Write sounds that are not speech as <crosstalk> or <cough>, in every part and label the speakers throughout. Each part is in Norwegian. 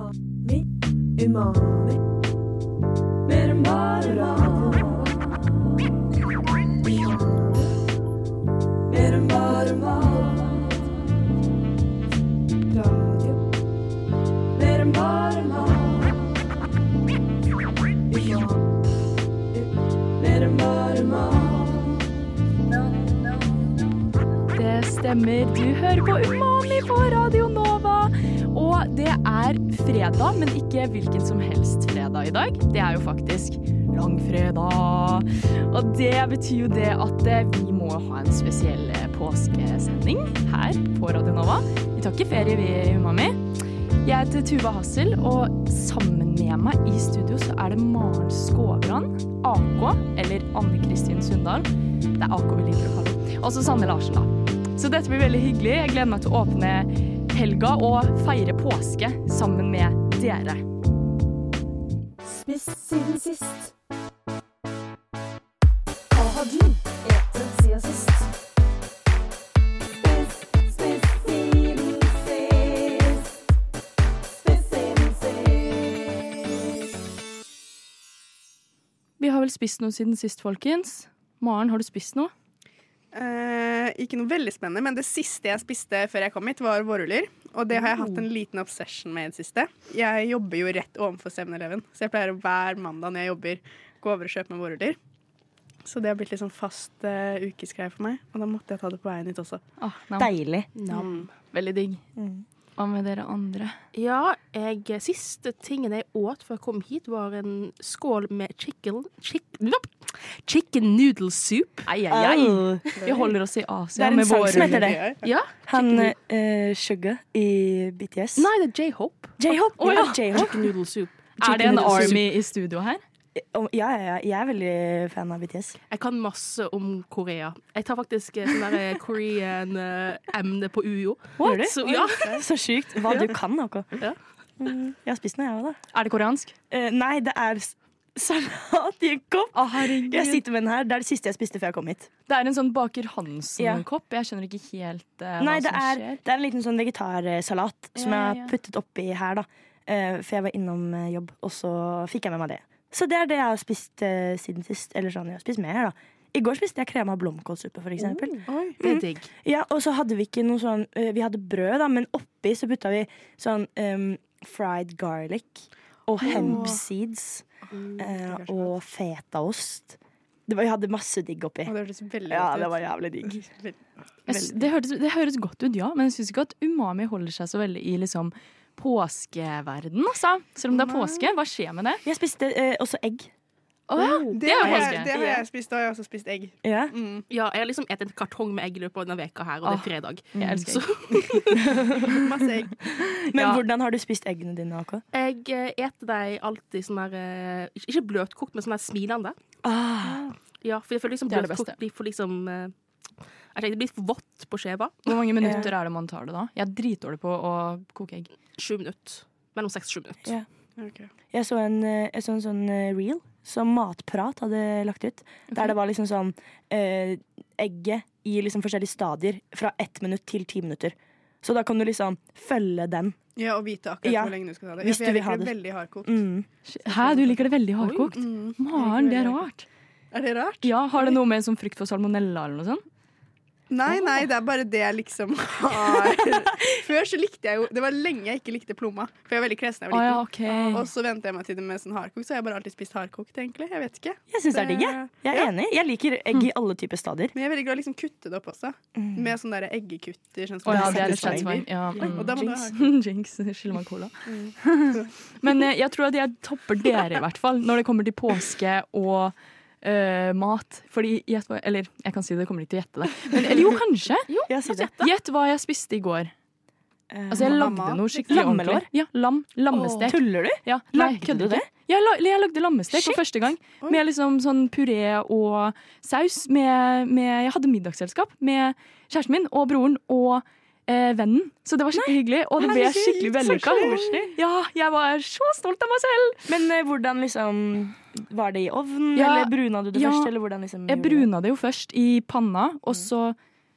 Speaker 1: Umami. Umami. Mer enn bare mat. Mer enn bare mat. Radio. Mer enn bare mat. Umami. Mer enn bare mat.
Speaker 2: Det stemmer. Du hører på Umami på Radio Nova. Og det er fredag, men ikke hvilken som helst fredag i dag. Det er jo faktisk langfredag. Og det betyr jo det at eh, vi må ha en spesiell eh, påskesending her på Radio Nova. Vi tar ikke ferie, vi i Umami. Jeg heter Tuva Hassel, og sammen med meg i studio så er det Maren Skåbrand, AK, eller Anne Kristin Sundal. Det er AK vi liker å kalle henne. Og så Sanne Larsen, da. Så dette blir veldig hyggelig. Jeg gleder meg til å åpne helga og feire påske sammen med dere.
Speaker 1: Spist siden sist. Hva har du etet siden sist? Spist, spist siden sist. Spist siden sist.
Speaker 2: Vi har vel spist noe siden sist, folkens. Maren, har du spist noe?
Speaker 3: Eh, ikke noe veldig spennende, men det siste jeg spiste før jeg kom hit, var vårruller. Og det har jeg hatt en liten obsession med i det siste. Jeg jobber jo rett ovenfor 7-Eleven, så jeg pleier å hver mandag når jeg jobber, gå over og kjøpe meg vårruller. Så det har blitt litt sånn fast eh, ukesgreie for meg. Og da måtte jeg ta det på veien hit også.
Speaker 2: Ah, nam.
Speaker 4: Deilig.
Speaker 2: Mm.
Speaker 4: Mm.
Speaker 2: Veldig digg. Hva med dere andre?
Speaker 5: Ja, jeg, siste tingen jeg åt før jeg kom hit, var en skål med chicken Chicken, chicken noodle soup.
Speaker 2: Ei, ei, ei.
Speaker 4: Au.
Speaker 2: Vi holder oss i Asia
Speaker 4: Det er en
Speaker 2: med
Speaker 4: sang
Speaker 2: våre
Speaker 4: som heter det.
Speaker 2: Ja?
Speaker 4: Han eh, Sugar i BTS.
Speaker 5: Nei, det er J-hope.
Speaker 4: J-Hope.
Speaker 2: Å, ja.
Speaker 4: ja. J-Hope.
Speaker 5: Chicken noodle soup.
Speaker 2: Er det en
Speaker 5: noodle soup.
Speaker 2: army i studio her?
Speaker 4: Om- Ja, ja, ja. Jeg er veldig fan av BTS.
Speaker 5: Jeg kan masse om Korea. Jeg tar faktisk eh, sånn der Korean-emne på UiO.
Speaker 4: Gjør du?
Speaker 5: Så, ja.
Speaker 4: Så sjukt. Hva du kan, Håkon.
Speaker 5: Ja.
Speaker 4: Mm, jeg har spist noe, jeg òg, da.
Speaker 2: Er det koreansk?
Speaker 4: Eh, nei, det er s- salat i en kopp.
Speaker 2: Å, herregud.
Speaker 4: Jeg sitter med den her. Det er det siste jeg spiste før jeg kom hit.
Speaker 2: Det er en sånn Baker
Speaker 4: Ja.
Speaker 2: Hansen-kopp. Jeg skjønner ikke helt eh, hva
Speaker 4: Nei, det
Speaker 2: som
Speaker 4: er,
Speaker 2: skjer.
Speaker 4: det er en liten sånn vegetarsalat som
Speaker 2: Ja,
Speaker 4: jeg
Speaker 2: ja.
Speaker 4: har puttet oppi her, da. Eh, for jeg var innom eh, jobb, og så fikk jeg med meg det. Så det er det jeg har spist eh, siden sist. Eller sånn, jeg har spist mer, da. I går spiste jeg krem av blomkålsuppe,
Speaker 2: Oh.
Speaker 4: for eksempel.
Speaker 5: Det er digg.
Speaker 4: Ja, og så hadde vi ikke noe sånn eh, Vi hadde brød, da, men oppi så putta vi sånn em, fried garlic og hemp seeds eh,
Speaker 3: det høres
Speaker 4: og fetaost. Det var, vi hadde masse digg oppi.
Speaker 3: Og det hørtes veldig
Speaker 4: Ja,
Speaker 3: godt ut.
Speaker 4: det var jævlig digg.
Speaker 3: Veldig-
Speaker 2: Jeg sy- Det, hørtes, det høres godt ut, ja, men jeg syns ikke at umami holder seg så veldig i liksom påskeverden, altså. Selv om det er påske. Hva skjer med det?
Speaker 4: Jeg spiste eh, også egg.
Speaker 2: Å ja, det er jo
Speaker 3: har jeg,
Speaker 2: påske.
Speaker 3: det har jeg spist, og jeg har også spist egg.
Speaker 4: Ja.
Speaker 5: Ja, jeg har liksom spist en kartong med egg i løpet av denne veka her, og Ah, det er fredag.
Speaker 2: Jeg elsker egg.
Speaker 3: Masse
Speaker 4: <laughs>
Speaker 3: egg.
Speaker 4: Men
Speaker 2: Ja.
Speaker 4: hvordan har du spist eggene dine, AK?
Speaker 5: <laughs> Jeg eh, eter deg alltid sånn her eh, ikke- Ikke bløtkokt, men sånn her smilende.
Speaker 2: Ah.
Speaker 5: Ja, for jeg føler liksom
Speaker 2: Det er det beste.
Speaker 5: bløtkokt blir for liksom eh, Jeg tenker det blir for vått på skjeva.
Speaker 2: Hvor mange minutter er det man tar det da? Jeg er dritdårlig på å koke egg.
Speaker 5: Sju minutter. Mellom seks og sju minutter.
Speaker 4: Ja.
Speaker 3: Ok.
Speaker 4: Jeg så en, eh, jeg så en sånn eh, reel som Matprat hadde lagt ut. Der det var liksom sånn eh, egget i liksom forskjellige stadier fra ett minutt til ti minutter. Så da kan du liksom følge den.
Speaker 3: Ja, og vite akkurat
Speaker 4: Ja,
Speaker 3: hvor lenge du skal ta det.
Speaker 4: hvis
Speaker 3: for
Speaker 4: du
Speaker 3: jeg
Speaker 4: vil ha
Speaker 3: liker det
Speaker 4: det.
Speaker 3: veldig hardkokt.
Speaker 4: Mm.
Speaker 2: Hæ, du liker det veldig hardkokt?
Speaker 3: Mm.
Speaker 2: Maren, det er rart.
Speaker 3: Er det rart?
Speaker 2: Ja, Har det noe med sånn frykt for salmonella eller noe sånt?
Speaker 3: Nei, nei, det er bare det jeg liksom har
Speaker 2: <laughs>
Speaker 3: Før så likte jeg jo Det var lenge jeg ikke likte plomma, for jeg var veldig kresen da jeg
Speaker 2: Å
Speaker 3: var
Speaker 2: ja,
Speaker 3: liten.
Speaker 2: ok.
Speaker 3: Og så venter jeg meg til det med sånn hardkokt, så har jeg bare alltid spist hardkokt, egentlig. Jeg vet ikke.
Speaker 4: Jeg syns det er digg, jeg. Jeg er enig. Jeg liker egg i alle typer stadier.
Speaker 3: Men jeg er veldig glad i å liksom kutte det opp også. Med sånn derre eggekutter. Sånn
Speaker 2: Mm.
Speaker 3: som
Speaker 2: Å ja, det
Speaker 3: setter
Speaker 2: er litt
Speaker 3: seg i.
Speaker 2: satisfying. Ja, mm.
Speaker 3: Og da må du
Speaker 2: Jinx. <laughs> Jinx. Skylder meg cola. Men eh, jeg tror at jeg topper dere, i hvert fall, når det kommer til påske og eh, mat. Fordi gjett hva Eller jeg kan si det, kommer ikke til å gjette det. Men, eller jo, kanskje.
Speaker 4: Jeg sier det.
Speaker 2: Gjett hva jeg spiste i går.
Speaker 4: Eh,
Speaker 2: Altså, jeg lagde
Speaker 3: mat,
Speaker 2: noe skikkelig
Speaker 4: Lammelår?
Speaker 2: ordentlig. Ja, lam. Lammestek.
Speaker 4: Tuller du?
Speaker 2: Ja, nei,
Speaker 4: Lagde
Speaker 2: kødder
Speaker 4: du
Speaker 2: ikke.
Speaker 4: det?
Speaker 2: Jeg, la, jeg lagde lammestek for første gang. Med liksom sånn puré og saus. Med, med, jeg hadde middagsselskap med kjæresten min og broren og eh, vennen. Så det var skikkelig hyggelig, og det ble
Speaker 4: Herregud,
Speaker 2: skikkelig
Speaker 4: så
Speaker 2: vellykka.
Speaker 4: koselig.
Speaker 2: Ja, jeg var så stolt av meg selv!
Speaker 4: Men eh, hvordan liksom Var det i ovnen,
Speaker 2: Ja,
Speaker 4: eller bruna du det
Speaker 2: ja.
Speaker 4: først? Eller hvordan liksom
Speaker 2: Jeg
Speaker 4: gjorde du det?
Speaker 2: bruna det jo først i panna, og så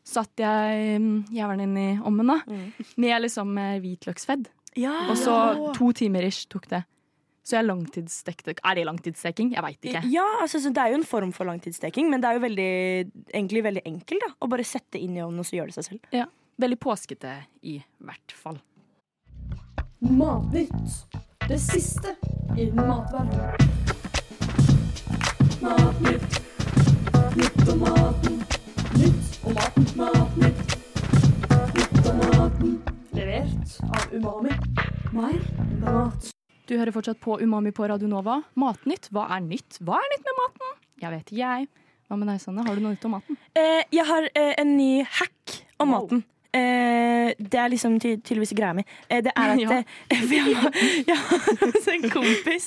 Speaker 2: satt jeg mm, jævelen inn i ommen, da. Med liksom eh, hvitløksfedd.
Speaker 4: Ja.
Speaker 2: Og så to timer ish tok det. Så jeg langtidsstekte Er det langtidssteking? Jeg veit ikke.
Speaker 4: Ja, altså, så Det er jo en form for langtidssteking, men det er jo veldig, egentlig veldig enkelt da, å bare sette inn i ovnen og så gjøre det seg selv.
Speaker 2: Veldig påskete i hvert fall.
Speaker 1: Matnytt. Det siste innen matverden. Matnytt. Nytt om maten. Nytt om maten. Matnytt. Nytt om maten. Levert av Umami. Mer mat.
Speaker 2: Du hører fortsatt på Umami på Radio Nova. Matnytt, hva er nytt? Hva er nytt med maten? Jeg vet ikke, jeg. Hva med deg, Sanne? Har du noe nytt om maten?
Speaker 4: Eh, jeg har eh, en ny hack om
Speaker 2: Wow.
Speaker 4: maten. Eh, det er liksom ty tydeligvis greia mi. Eh,
Speaker 2: <laughs>
Speaker 4: det er at
Speaker 2: Ja.
Speaker 4: eh, <laughs> for jeg var- jeg var hos en kompis,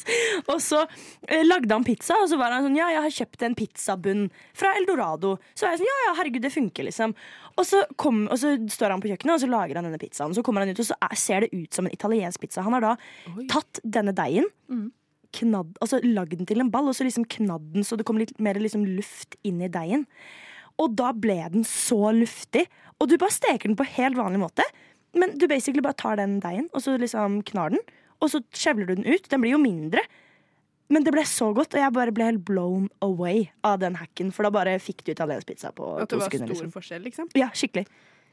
Speaker 4: og så eh, lagde han pizza. Og så var han sånn Ja, jeg har kjøpt en pizzabunn fra Eldorado. Så var jeg sånn Ja, ja, herregud, det funker, liksom. Og så, kom, og så står han på kjøkkenet, og så lager han denne pizzaen. Så kommer han ut, og så er, ser det ut som en italiensk pizza. Han har da tatt denne deigen.
Speaker 2: Mm.
Speaker 4: Knadd, altså Lagd den til en ball og så liksom knadd den så det kom litt mer liksom luft inn i deigen. Og da ble den så luftig. Og du bare steker den på helt vanlig måte. Men du basically bare tar den deigen og så liksom knar den. Og så skjevler du den ut. Den blir jo mindre. Men det ble så godt, og jeg bare ble helt blown away av den hacken. For da bare fikk du italiensk pizza på
Speaker 3: At det
Speaker 4: to
Speaker 3: var
Speaker 4: sekunder.
Speaker 3: stor
Speaker 4: Liksom.
Speaker 3: forskjell, liksom.
Speaker 4: Ja, skikkelig.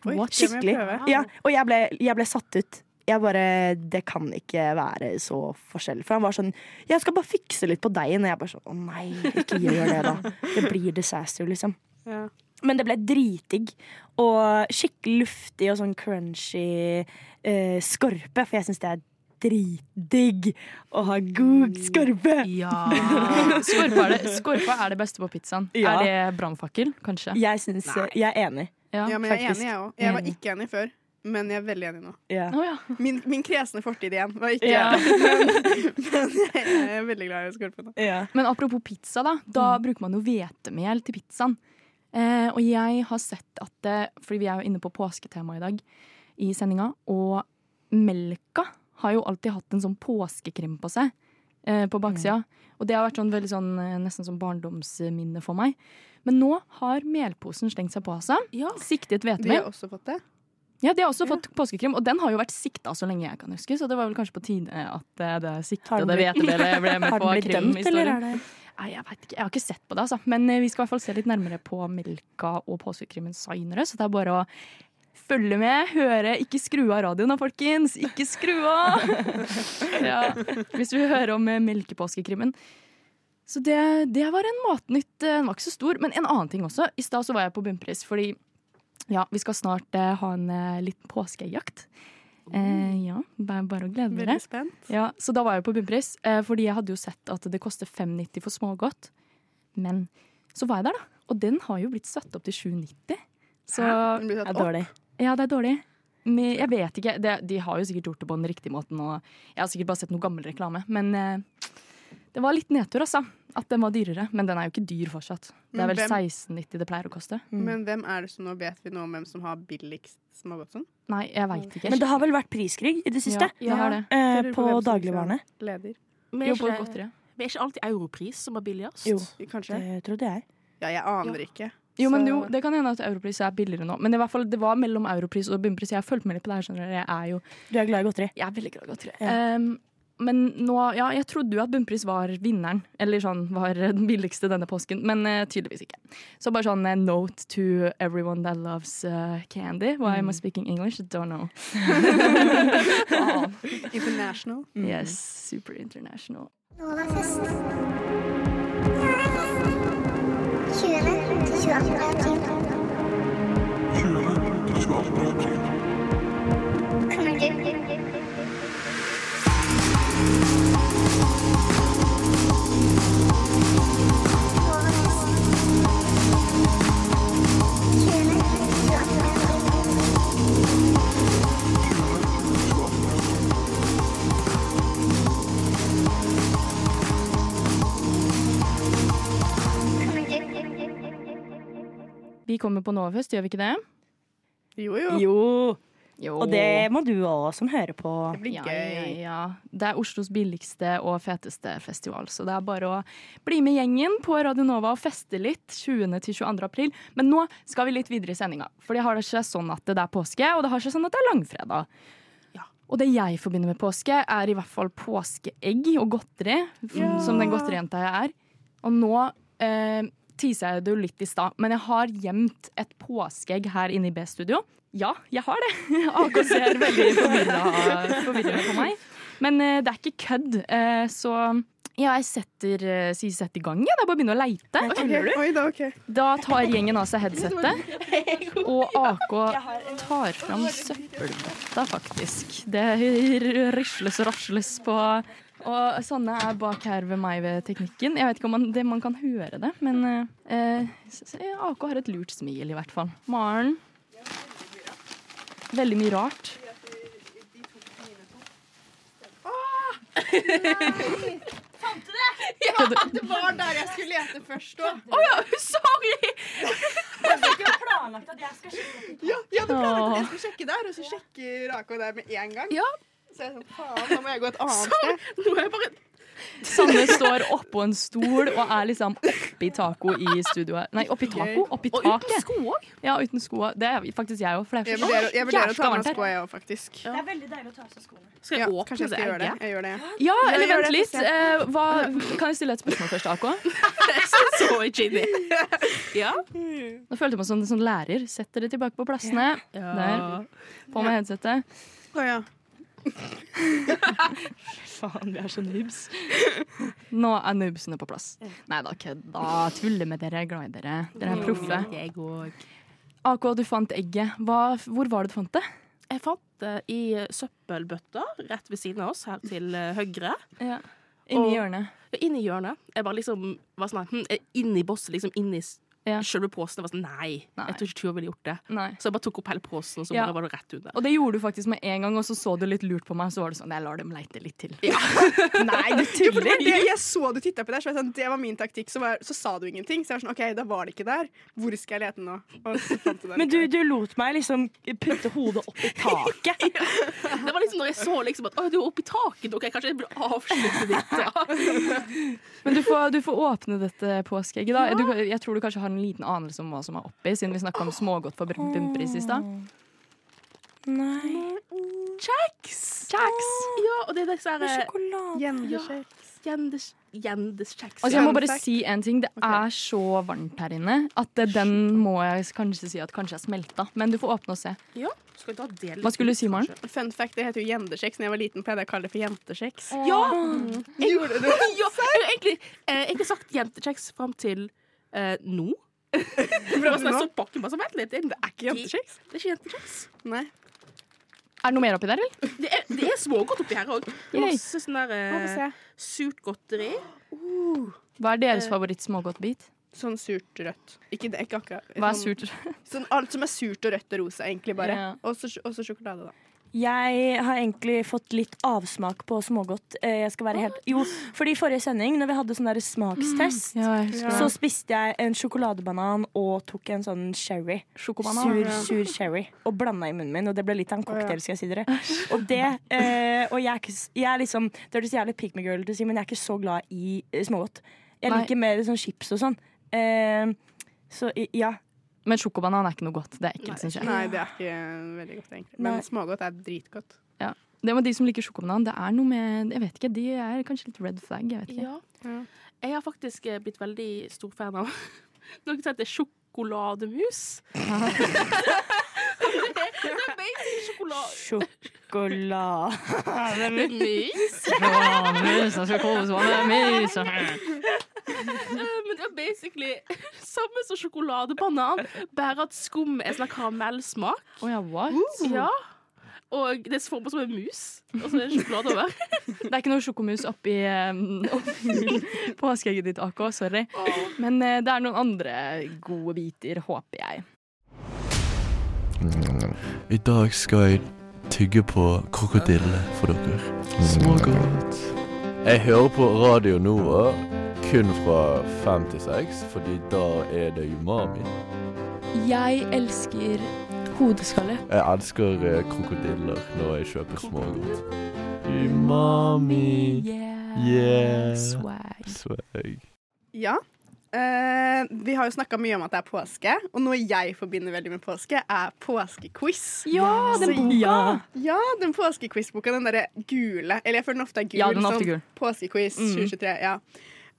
Speaker 3: Oi,
Speaker 2: What?
Speaker 3: det må jeg
Speaker 4: Skikkelig.
Speaker 3: prøve.
Speaker 4: Ja, og jeg ble, jeg ble satt ut. Jeg bare, Det kan ikke være så forskjell. For han var sånn Jeg skal bare fikse litt på deigen. Og jeg bare sånn Å nei, ikke gjør
Speaker 3: <laughs>
Speaker 4: det, da. Det blir disaster, liksom.
Speaker 3: Ja.
Speaker 4: Men det ble dritdigg og skikkelig luftig og sånn crunchy eh, skorpe, for jeg syns det er dritdigg å ha
Speaker 3: Mm.
Speaker 4: god skorpe.
Speaker 5: Ja.
Speaker 2: Skorpa er det, skorpa er det beste på pizzaen.
Speaker 4: Ja.
Speaker 2: Er det brannfakkel, kanskje?
Speaker 4: Jeg, synes, jeg er enig.
Speaker 2: Ja. Mm.
Speaker 3: ja, men jeg er
Speaker 4: faktisk.
Speaker 3: enig, jeg òg. Jeg var
Speaker 4: Enig.
Speaker 3: ikke enig før, men jeg er veldig enig nå.
Speaker 4: Ja.
Speaker 2: Å, ja.
Speaker 3: Min, min kresne fortid igjen var ikke
Speaker 2: Ja.
Speaker 3: <laughs> men, men jeg er veldig glad i skorpe nå.
Speaker 4: Ja.
Speaker 2: Men apropos pizza, da. Da bruker man jo hvetemel til pizzaen. Eh, og jeg har sett at det, fordi vi er jo inne på påsketema i dag i sendinga, og melka har jo alltid hatt en sånn påskekrim på seg eh, på baksida. Og det har vært sånn veldig sånn eh, nesten sånn barndomsminne for meg. Men nå har melposen slengt seg på seg.
Speaker 5: Ja.
Speaker 2: Siktet
Speaker 3: De har
Speaker 2: hvetemel.
Speaker 3: også fått det.
Speaker 2: Ja, de har også fått påskekrim, og den har jo vært sikta så lenge jeg kan huske, så det var vel kanskje på tide at eh, det
Speaker 4: Har den
Speaker 2: siktede hvetemelet ble med
Speaker 4: <laughs> Har
Speaker 2: på
Speaker 4: den blitt dømt, eller
Speaker 2: krimhistorien.
Speaker 4: er det
Speaker 2: Nei, jeg vet ikke. Jeg har ikke sett på det, altså. Men eh, vi skal i hvert fall se litt nærmere på Melka og påskekrimmen seinere, så det er bare å følge med, høre. Ikke skru av radioen da, folkens! Ikke skru av! <laughs> ja. Hvis du vil høre om eh, melkepåskekrimmen. Så det, det var en matnytt. eh, Den var ikke så stor. Men en annen ting også. I stad så var jeg på bunnpris fordi ja, vi skal snart eh, ha en eh, liten påskejakt. Eh, ja, det er bare å glede dere.
Speaker 3: Veldig spent.
Speaker 2: Ja, så da var jeg på bunnpris, eh, fordi jeg hadde jo sett at det koster 5,90 for smågodt. Men så var jeg der, da. Og den har jo blitt satt opp til 7,90. Så
Speaker 3: Den blir
Speaker 4: Det
Speaker 3: satt
Speaker 4: er
Speaker 3: opp.
Speaker 4: dårlig.
Speaker 2: ja, det er dårlig. Men jeg vet ikke. Det, de har jo sikkert gjort det på den riktige måten, og jeg har sikkert bare sett noe gammel reklame. Men eh, det var litt nedtur, altså. At den var dyrere. Men den er jo ikke dyr fortsatt. Det er
Speaker 3: Men
Speaker 2: vel
Speaker 3: hvem-
Speaker 2: 16,90 det pleier å koste.
Speaker 3: Men hvem er det som nå vet vi noe om hvem som har billigst smågodtson?
Speaker 2: Nei, jeg veit ikke.
Speaker 4: Men det har vel vært priskrig i det
Speaker 2: Ja,
Speaker 4: siste?
Speaker 2: det har det.
Speaker 4: Eh,
Speaker 3: Lurer
Speaker 4: på
Speaker 3: hvem som
Speaker 4: dagligvarene.
Speaker 3: liksom Leder.
Speaker 5: Men
Speaker 2: Jo,
Speaker 5: er
Speaker 2: på
Speaker 5: ikke,
Speaker 2: godteriet.
Speaker 5: men er ikke alltid europris som er billigst? <laughs>
Speaker 4: Jo.
Speaker 3: Kanskje.
Speaker 4: Det trodde jeg.
Speaker 3: Ja, jeg aner ikke.
Speaker 2: Jo, men
Speaker 3: Så-
Speaker 2: jo, det kan hende at europris er billigere nå. Men det, var i hvert fall, det var mellom europris og bunnpris. Jeg har fulgt med litt på det her, skjønner dere. Jeg er jo
Speaker 4: Du er glad i godteri?
Speaker 2: Jeg er veldig glad i godteri.
Speaker 4: Ja.
Speaker 2: Ehm, men nå, ja, jeg trodde jo at bunnpris var vinneren, eller sånn var den billigste denne påsken, men eh, tydeligvis ikke. Så bare sånn eh, note to everyone that loves eh, candy. Why am I speaking English? Don't know. Faen.
Speaker 3: International.
Speaker 2: yes, super international.
Speaker 6: Novafest. 20. til 28.
Speaker 7: 20.
Speaker 6: april.
Speaker 7: til 28. april.
Speaker 6: Kommer du? Novafest. 20. til 28. april. Kommer du?
Speaker 2: Vi kommer på Novafest, gjør vi ikke det?
Speaker 3: Jo, jo.
Speaker 4: Jo.
Speaker 2: Jo.
Speaker 4: Og det må du òg, som hører på.
Speaker 3: Det blir
Speaker 2: ja, ja,
Speaker 3: gøy.
Speaker 2: ja. Det er Oslos billigste og feteste festival, så det er bare å bli med gjengen på Radionova og feste litt 20. til 22. april. Men nå skal vi litt videre i sendinga, for det har seg sånn at det er påske, og det har seg sånn at det er langfredag.
Speaker 5: Ja.
Speaker 2: Og det jeg forbinder med påske, er i hvert fall påskeegg og godteri, f- som den godterijenta jeg er. Og nå eh, tisa jeg det jo litt i stad, men jeg har gjemt et påskeegg her inne i B-studio. Ja, jeg har det. <laughs> AK ser veldig forvirra forvirra på meg. Men eh, det er ikke kødd, eh, så jeg setter, eh, sier sett i gang. jeg. Det er bare å begynne å leite.
Speaker 3: Ok, Oi da, ok.
Speaker 2: Da tar gjengen av seg headsetet, og AK tar fram søppelbøtta, faktisk. Det r- risles og rasles på Og Sanne er bak her ved meg ved teknikken. Jeg vet ikke om man, det, man kan høre det, men eh, s- s- AK har et lurt smil, i hvert fall. Maren. Veldig mye rart. <laughs>
Speaker 3: Det var der jeg skulle lete først òg.
Speaker 2: Sorry!
Speaker 3: Ja, jeg hadde planlagt at jeg skulle sjekke der, og så sjekker AK der med en gang.
Speaker 2: Ja.
Speaker 3: Så jeg er sånn, faen, nå må jeg gå et annet sted.
Speaker 2: Sanne står oppå en stol og er liksom oppi taco i studioet. Nei, oppi taco? Oppi taket. Og uten sko òg. Ja, uten sko. også. Det er faktisk jeg òg, for det
Speaker 3: Jeg
Speaker 2: er så
Speaker 3: vurderer, jeg vurderer å
Speaker 2: Jævla
Speaker 3: ta med
Speaker 2: varmt her.
Speaker 3: skoa, jeg òg, faktisk.
Speaker 4: Det er veldig deilig å ta av seg skoene.
Speaker 5: Skal
Speaker 3: Ja,
Speaker 5: jeg åpne
Speaker 3: kanskje jeg
Speaker 5: det
Speaker 3: skal gjøre det.
Speaker 5: egget?
Speaker 3: Jeg gjør det. ja.
Speaker 2: Ja, eller
Speaker 3: gjør
Speaker 2: vent
Speaker 3: det,
Speaker 2: litt.
Speaker 3: få se.
Speaker 2: Eh, hva, kan jeg stille et spørsmål først,
Speaker 3: <laughs>
Speaker 2: AK?
Speaker 5: Så ikke inn i.
Speaker 2: <laughs>
Speaker 5: Ja.
Speaker 2: Nå følte jeg meg som en sånn lærer. Setter det tilbake på plassene. Der. På med headsetet.
Speaker 3: Å, ja.
Speaker 2: Faen, vi er så noobs. Nå er noobsene på plass. Nei da, kødda. Tuller med dere. Jeg er glad i dere. Dere er proffe.
Speaker 5: Jeg òg.
Speaker 2: AK, du fant egget. Hva, hvor var det du fant det?
Speaker 5: Jeg fant det i søppelbøtta rett ved siden av oss, her til eh, høyre.
Speaker 2: Ja. Inni
Speaker 5: Og-
Speaker 2: hjørnet.
Speaker 5: Inni hjørnet. Jeg bare liksom var sånn hm, er Inni bosset, liksom inni s-
Speaker 2: Ja.
Speaker 5: selve posen. Jeg var sånn nei,
Speaker 2: Nei.
Speaker 5: jeg tror ikke Tyra ville gjort det.
Speaker 2: Nei.
Speaker 5: Så jeg bare tok opp hele posen, og så
Speaker 2: Ja.
Speaker 5: bare var det rett under.
Speaker 2: Og det gjorde du faktisk med en gang, og så så du litt lurt på meg, og så var det sånn Jeg lar dem leite litt til. Nei, du
Speaker 3: Jo, for det var
Speaker 2: tuller!
Speaker 3: det jeg så du titta på der, så var jeg sånn, det var min taktikk. Så, var, så sa du ingenting. Så jeg var sånn, OK, da var det ikke der. Hvor skal jeg lete nå? Og så fant du det.
Speaker 4: Men du, du lot meg liksom putte hodet opp i taket. <laughs>
Speaker 5: Det var liksom når jeg så liksom at Å, du er oppe i taket, OK, kanskje jeg burde avslutte litt. <laughs> da.
Speaker 2: Men du får, du får åpne dette påskeegget, da. Du, jeg tror du kanskje har en liten anelse om hva som er oppi, siden vi snakka om smågodt for br- bumper i stad.
Speaker 4: Nei.
Speaker 5: Kjeks!
Speaker 2: Kjeks!
Speaker 5: Ja, og det er disse her eh,
Speaker 4: Sjokolade.
Speaker 3: Gjenbeskjed.
Speaker 5: gjendes- Gjendiskjeks.
Speaker 2: Altså, jeg må
Speaker 3: Fun
Speaker 2: bare
Speaker 3: fact.
Speaker 2: si en ting. Det er så varmt her inne at det- den må jeg kanskje si at kanskje er smelta. Men du får åpne og se.
Speaker 5: Ja, skal vi ta det litt
Speaker 2: Hva skulle du si, Maren?
Speaker 5: kanskje?
Speaker 3: Fun fact, det heter jo jendesjeks. Når jeg var liten, pleide jeg å kalle det for jentesjeks. <laughs>
Speaker 5: Ja!
Speaker 3: Gjorde du
Speaker 5: ja jeg har egentlig, eh, egentlig sagt jentekjeks fram til eh, nå. For det var sånn jeg så bakken bare sånn, vent litt. Det er ikke
Speaker 3: Jentekjeks?
Speaker 5: Det er ikke jentekjeks.
Speaker 3: Nei.
Speaker 2: Er det noe mer oppi der, eller?
Speaker 5: Det er, det er smågodt oppi her òg.
Speaker 2: Yay.
Speaker 5: Masse sånn der
Speaker 3: Må få
Speaker 5: eh,
Speaker 3: se.
Speaker 5: surt godteri.
Speaker 2: Hva er deres
Speaker 3: Eh,
Speaker 2: favoritt-smågodtbit?
Speaker 3: Sånn surt rødt. Ikke det, ikke akkurat.
Speaker 2: Hva er
Speaker 3: Sånn-
Speaker 2: surt?
Speaker 3: Sånn, alt som er surt og rødt og rosa, egentlig bare.
Speaker 2: Ja.
Speaker 3: Og så sj- og så sjokolade, da.
Speaker 4: Jeg har egentlig fått litt avsmak på smågodt. Eh, Jeg skal være helt Jo, fordi i forrige sending, når vi hadde sånn der smakstest,
Speaker 2: Ja, <laughs> jeg husker
Speaker 4: så
Speaker 2: det.
Speaker 4: spiste jeg en sjokoladebanan og tok en sånn sherry.
Speaker 2: Sjokobanan.
Speaker 4: Sur, sur sherry. Og blanda i munnen min, og det ble litt av en cocktail, skal jeg si
Speaker 3: <laughs>
Speaker 4: dere. Og det eh, Og jeg er ikke s- Jeg er liksom Det høres jævlig pick me girl ut å si, men jeg er ikke så glad i eh, smågodt. Jeg
Speaker 2: Nei.
Speaker 4: liker mer sånn chips og sånn. Eh, så i- ja.
Speaker 2: Men sjokobanan er ikke noe godt. Det er ekkelt, syns jeg.
Speaker 3: Nei, det er ikke veldig godt, egentlig. Men
Speaker 4: Nei.
Speaker 3: smågodt er dritgodt.
Speaker 2: Ja. Det med de som liker sjokobanan, det er noe med Jeg vet ikke, de er kanskje litt red flag. Jeg vet ikke.
Speaker 5: Ja. Jeg har faktisk eh, blitt veldig stor fan av <laughs> noe som heter sjokolademus. <laughs> det er det er basic sjokolade.
Speaker 4: Sjokolade
Speaker 5: <laughs> Mus?
Speaker 2: Sjokobanan.
Speaker 5: Eh, Men det er basically samme som sjokoladebanan, bare at skum er sånn karamellsmak.
Speaker 2: Å Uh. ja, what?
Speaker 5: Ja. Og det er formet som en mus, og så er det sjokolade over.
Speaker 2: Det er ikke noe sjokomus oppi, um, oppi påskeegget ditt, AK. Sorry. Men eh, det er noen andre gode biter, håper jeg.
Speaker 8: I dag skal jeg tygge på krokodille for dere. Mm. Smågodt.
Speaker 9: Jeg hører på Radio Nova kun fra fem til seks, fordi da er det umami.
Speaker 2: Jeg elsker hodeskalle.
Speaker 9: Jeg elsker eh, krokodiller når jeg kjøper smågodt. Umami.
Speaker 2: Yeah.
Speaker 9: Yeah.
Speaker 2: Eh, Swag.
Speaker 9: Swag.
Speaker 3: Ja, Eh, vi har jo snakka mye om at det er påske, og noe jeg forbinder veldig med påske, er påskequiz.
Speaker 2: Ja, den boka! Ja.
Speaker 3: Ja, den påskequiz-boka, den derre gule Eller jeg føler den ofte er gul. sånn
Speaker 2: Ja, den er ofte gul. Mm.
Speaker 3: Påskequiz 2023. ja.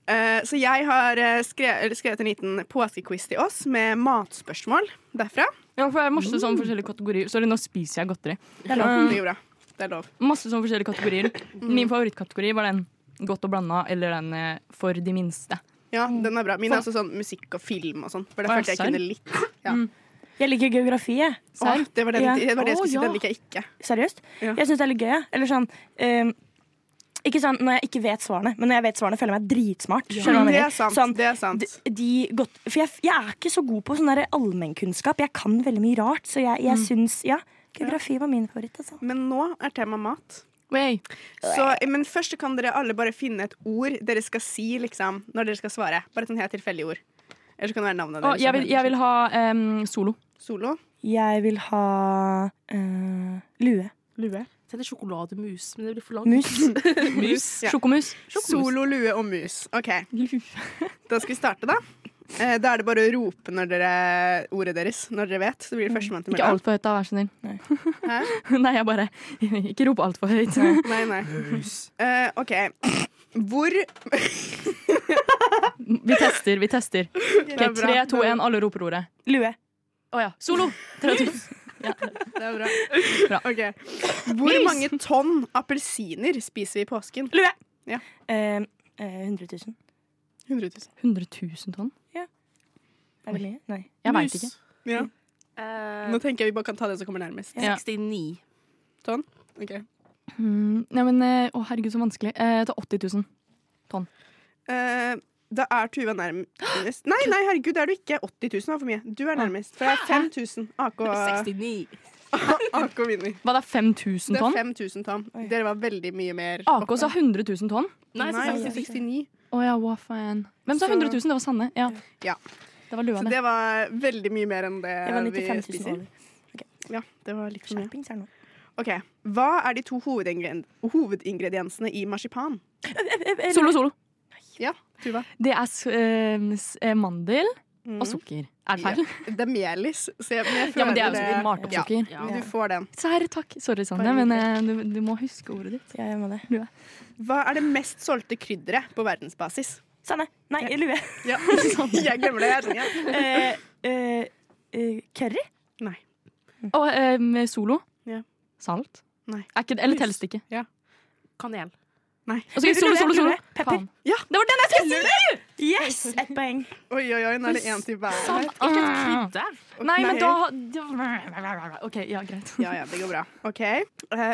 Speaker 3: Eh, så jeg har eh, skrevet, eller skrevet en liten påskequiz til oss med matspørsmål derfra.
Speaker 2: for det er masse sånn forskjellige kategorier. Sorry, nå spiser jeg godteri.
Speaker 3: Det er lov. Det går bra. Det er lov.
Speaker 2: Masse sånn forskjellige kategorier. Min favorittkategori var den godt og blanda, eller den eh, for de minste.
Speaker 3: Ja, den er bra. Min er også sånn musikk og film og sånn, for det
Speaker 2: Mm. Å, ja,
Speaker 3: følte jeg
Speaker 2: serr.
Speaker 3: kunne litt. Ja.
Speaker 4: Jeg liker geografi, jeg.
Speaker 3: Åh, det var det,
Speaker 4: Ja.
Speaker 3: det, var det jeg
Speaker 2: Å,
Speaker 3: skulle si.
Speaker 2: ja.
Speaker 3: Den liker jeg ikke.
Speaker 4: Seriøst.
Speaker 3: Ja.
Speaker 4: Jeg syns det er litt gøy. jeg. Eller sånn ehm, Ikke sånn når jeg ikke vet svarene, men når jeg vet svarene, føler jeg meg dritsmart. Skjønner du hva jeg
Speaker 3: Det
Speaker 4: mener?
Speaker 3: er sant.
Speaker 4: Sånn,
Speaker 3: det er sant.
Speaker 4: de, de godt, for jeg, jeg er ikke så god på sånn der allmennkunnskap. Jeg kan veldig mye rart, så jeg,
Speaker 3: Mm.
Speaker 4: jeg syns Ja, geografi var min favoritt, altså.
Speaker 3: Men nå er tema mat.
Speaker 2: Way.
Speaker 3: Så, men først så kan dere alle bare finne et ord dere skal si liksom, når dere skal svare. Bare et sånn helt tilfeldig ord. Eller så kan det være navnet
Speaker 2: Å,
Speaker 3: deres.
Speaker 2: jeg, vil, jeg vil ha em, solo.
Speaker 3: Solo.
Speaker 4: Jeg vil ha eh, lue.
Speaker 5: Jeg tenkte sjokolademus, men det blir for langt.
Speaker 4: Mus.
Speaker 3: <laughs>
Speaker 2: Mus.
Speaker 3: Ja.
Speaker 2: Sjokomus.
Speaker 3: Solo, lue og mus.
Speaker 2: <laughs>
Speaker 3: OK, da skal vi starte, da. Eh, Da er det bare å rope når dere, ordet deres når dere vet. Så blir det førstemann til
Speaker 2: Mm. Ikke
Speaker 3: melda.
Speaker 2: altfor høyt, da, vær så snill.
Speaker 3: Hæ?
Speaker 2: <laughs> Nei, jeg bare Ikke rop altfor høyt.
Speaker 3: Nei, nei. Eh, OK. Hvor
Speaker 2: Vi tester, vi tester.
Speaker 3: Det
Speaker 2: Ok,
Speaker 3: er bra.
Speaker 2: tre, to, én, alle roper ordet.
Speaker 4: Lue.
Speaker 2: Å ja. Solo! Tre, to.
Speaker 3: Det er bra.
Speaker 2: Bra.
Speaker 3: Ok. Hvor mange tonn appelsiner spiser vi i påsken?
Speaker 4: Lue!
Speaker 3: Ja.
Speaker 4: Eh, eh, 100 000.
Speaker 3: 100 000.
Speaker 2: 100 000 tonn?
Speaker 4: Er det mye? Nei.
Speaker 2: Jeg veit ikke.
Speaker 3: Ja.
Speaker 5: Eh,
Speaker 3: Nå tenker jeg vi bare kan ta den som kommer nærmest.
Speaker 2: Ja.
Speaker 5: 69.
Speaker 3: Ok.
Speaker 2: Mm, nei, men eh, Å, herregud, så vanskelig. Eh, ta 80 000.
Speaker 3: Eh, da er Tuva nærmest. Nei, nei, herregud, det er du ikke. 80 000 var for mye. Du er nærmest. For det er 5000. AK,
Speaker 5: 69.
Speaker 3: <laughs> AK vinner.
Speaker 2: Hva, det er 5000
Speaker 3: Det er
Speaker 2: tonn?
Speaker 3: 5000 tonn. Dere var veldig mye mer
Speaker 2: AK sa 100 000 tonn.
Speaker 5: Nei,
Speaker 3: Nei,
Speaker 5: så-
Speaker 3: 69.
Speaker 2: Å ja, hva faen. Hvem sa
Speaker 3: Så-
Speaker 2: 100 000? Det var Sanne. Ja.
Speaker 3: Ja.
Speaker 2: Det var lua,
Speaker 3: Så
Speaker 2: det.
Speaker 3: det var veldig mye mer enn det
Speaker 4: Jeg var
Speaker 3: vi
Speaker 4: 95 000
Speaker 3: spiser.
Speaker 4: over.
Speaker 3: Ja, det var litt for mye.
Speaker 4: Skjerpings er det nå.
Speaker 3: OK. Hva er de to hovedingre- hovedingrediensene i marsipan?
Speaker 4: Eh,
Speaker 2: Solo, solo.
Speaker 3: Ja, Tuva.
Speaker 2: Det er s- eh, s- eh, mandel
Speaker 3: Mm.
Speaker 2: og sukker. Er det feil?
Speaker 3: Det er melis. Så jeg, men
Speaker 2: Ja,
Speaker 3: jeg føler
Speaker 2: men det er jo
Speaker 3: det-
Speaker 2: malt opp
Speaker 3: Ja.
Speaker 2: sukker.
Speaker 5: Ja.
Speaker 3: Du får den.
Speaker 2: Sær, takk. Sorry, Sanne,
Speaker 3: Bare
Speaker 2: men eh, du, du må huske ordet ditt.
Speaker 4: Ja, jeg må det.
Speaker 3: Hva er det mest solgte krydderet på verdensbasis?
Speaker 4: Sanne. Nei,
Speaker 3: <laughs>
Speaker 4: lue.
Speaker 3: Ja, jeg glemmer det. Jeg er sånn, ja.
Speaker 4: Eh, eh, eh, curry?
Speaker 2: Og eh, med solo.
Speaker 3: Ja.
Speaker 2: Salt.
Speaker 3: Nei.
Speaker 2: Er ikke, eller
Speaker 3: Lys.
Speaker 2: telles det ikke?
Speaker 5: Kanel.
Speaker 3: Nei.
Speaker 2: Og så er det solo, solo, solo.
Speaker 4: Lue. Pepper.
Speaker 2: Faen.
Speaker 3: Ja,
Speaker 2: Det var den jeg skulle si!
Speaker 4: Yes! Ett poeng.
Speaker 3: Oi, oi, oi, nå er det én til hver. her.
Speaker 5: Ikke et krydder.
Speaker 2: Nei, men <laughs> da OK, ja, greit.
Speaker 3: Ja, ja, det går bra. Ok. Eh,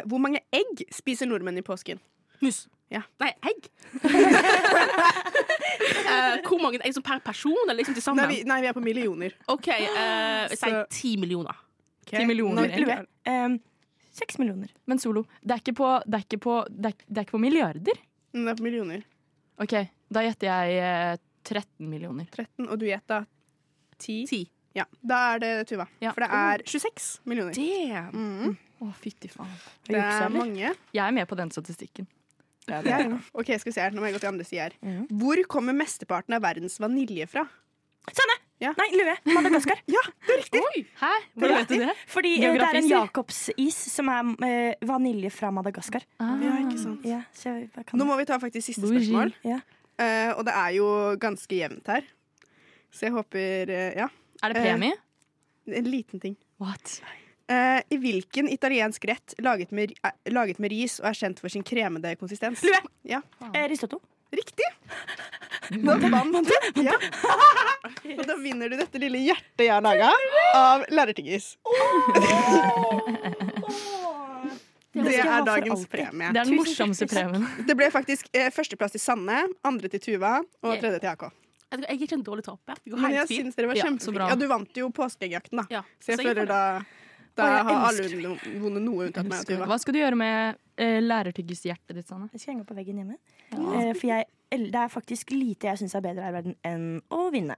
Speaker 3: hvor mange egg spiser nordmenn i påsken?
Speaker 5: Mus.
Speaker 3: Ja.
Speaker 5: Nei, egg. <laughs> Eh, hvor mange egg som per person, eller liksom til sammen?
Speaker 3: Nei, vi, nei, vi er på millioner.
Speaker 5: OK, eh, si
Speaker 3: Så-
Speaker 5: ti millioner.
Speaker 3: Okay.
Speaker 2: Ti millioner
Speaker 3: Nå-
Speaker 2: egg.
Speaker 4: Lue. Um, Seks millioner.
Speaker 2: Men solo. Det er ikke på, det er ikke på, det er, det er ikke på milliarder.
Speaker 3: Nei, Mm, Det er på millioner.
Speaker 2: OK, da gjetter jeg eh, 13 millioner.
Speaker 3: 13, og du gjetta
Speaker 5: Ti.
Speaker 3: 10. Ja, da er det Tuva.
Speaker 2: Ja.
Speaker 3: For det er 26 millioner.
Speaker 5: Damn.
Speaker 3: Mm,
Speaker 2: Å, fytti faen.
Speaker 4: Har du
Speaker 3: det
Speaker 4: juksa,
Speaker 3: er
Speaker 4: eller?
Speaker 3: mange.
Speaker 2: Jeg er med på den statistikken.
Speaker 3: Ja, ja. Ok, skal vi se her. Nå må jeg gå til andre side her.
Speaker 4: Mhm.
Speaker 3: Hvor kommer mesteparten av verdens vanilje fra?
Speaker 4: Nei, lue. Madagaskar.
Speaker 2: Hæ? Hvordan vet du det? <laughs>
Speaker 4: Fordi eh, det er en
Speaker 2: Geografiser.
Speaker 4: Jacobsis som er eh, vanilje fra Madagaskar.
Speaker 2: Ah.
Speaker 3: Ja, ikke sant.
Speaker 4: Ja, så jeg bare kan
Speaker 3: Nå må vi ta faktisk siste
Speaker 2: Bougie.
Speaker 3: spørsmål.
Speaker 4: Ja.
Speaker 3: Eh, og det er jo ganske jevnt her. Så jeg håper eh, Ja,
Speaker 2: Er det premie?
Speaker 3: en liten ting.
Speaker 2: What?
Speaker 3: Eh, I hvilken italiensk rett laget med, eh, laget med ris og er kjent for sin kremede konsistens?
Speaker 4: Lue!
Speaker 3: Ja,
Speaker 4: Eh, risotto.
Speaker 3: Riktig! Da
Speaker 4: <laughs>
Speaker 3: vant du. Ja. Og da vinner du dette lille hjertet jeg har laga av lærertyggis.
Speaker 4: skal
Speaker 3: Det
Speaker 4: jeg ha
Speaker 3: er
Speaker 4: for
Speaker 3: dagens
Speaker 4: alltid.
Speaker 3: premie.
Speaker 2: Det er den
Speaker 4: Tusen
Speaker 2: morsomste
Speaker 4: hjertelig
Speaker 2: <laughs> premien.
Speaker 3: Det ble faktisk eh, førsteplass til Sanne, andre til Tuva og tredje til AK.
Speaker 5: Jeg tror- jeg er ikke en dårlig taper. Det går
Speaker 3: Men
Speaker 5: helt
Speaker 3: jeg
Speaker 5: fint.
Speaker 3: syns dere var
Speaker 2: Ja, så
Speaker 3: kjempeflinke.
Speaker 2: bra.
Speaker 3: Ja, du vant jo påskeegjakten, da.
Speaker 5: Ja,
Speaker 3: Så jeg
Speaker 5: så jeg
Speaker 3: føler
Speaker 5: får
Speaker 3: da, da
Speaker 4: Å, jeg
Speaker 3: har alle
Speaker 4: elsker
Speaker 3: vunnet vunnet noe unntatt meg og Tuva.
Speaker 2: Hva skal du gjøre med eh, lærertyggishjertet ditt, Sanne?
Speaker 4: Jeg skal henge opp på veggen hjemme. Eh, for jeg, el- det er faktisk lite jeg syns er bedre her i verden enn å vinne.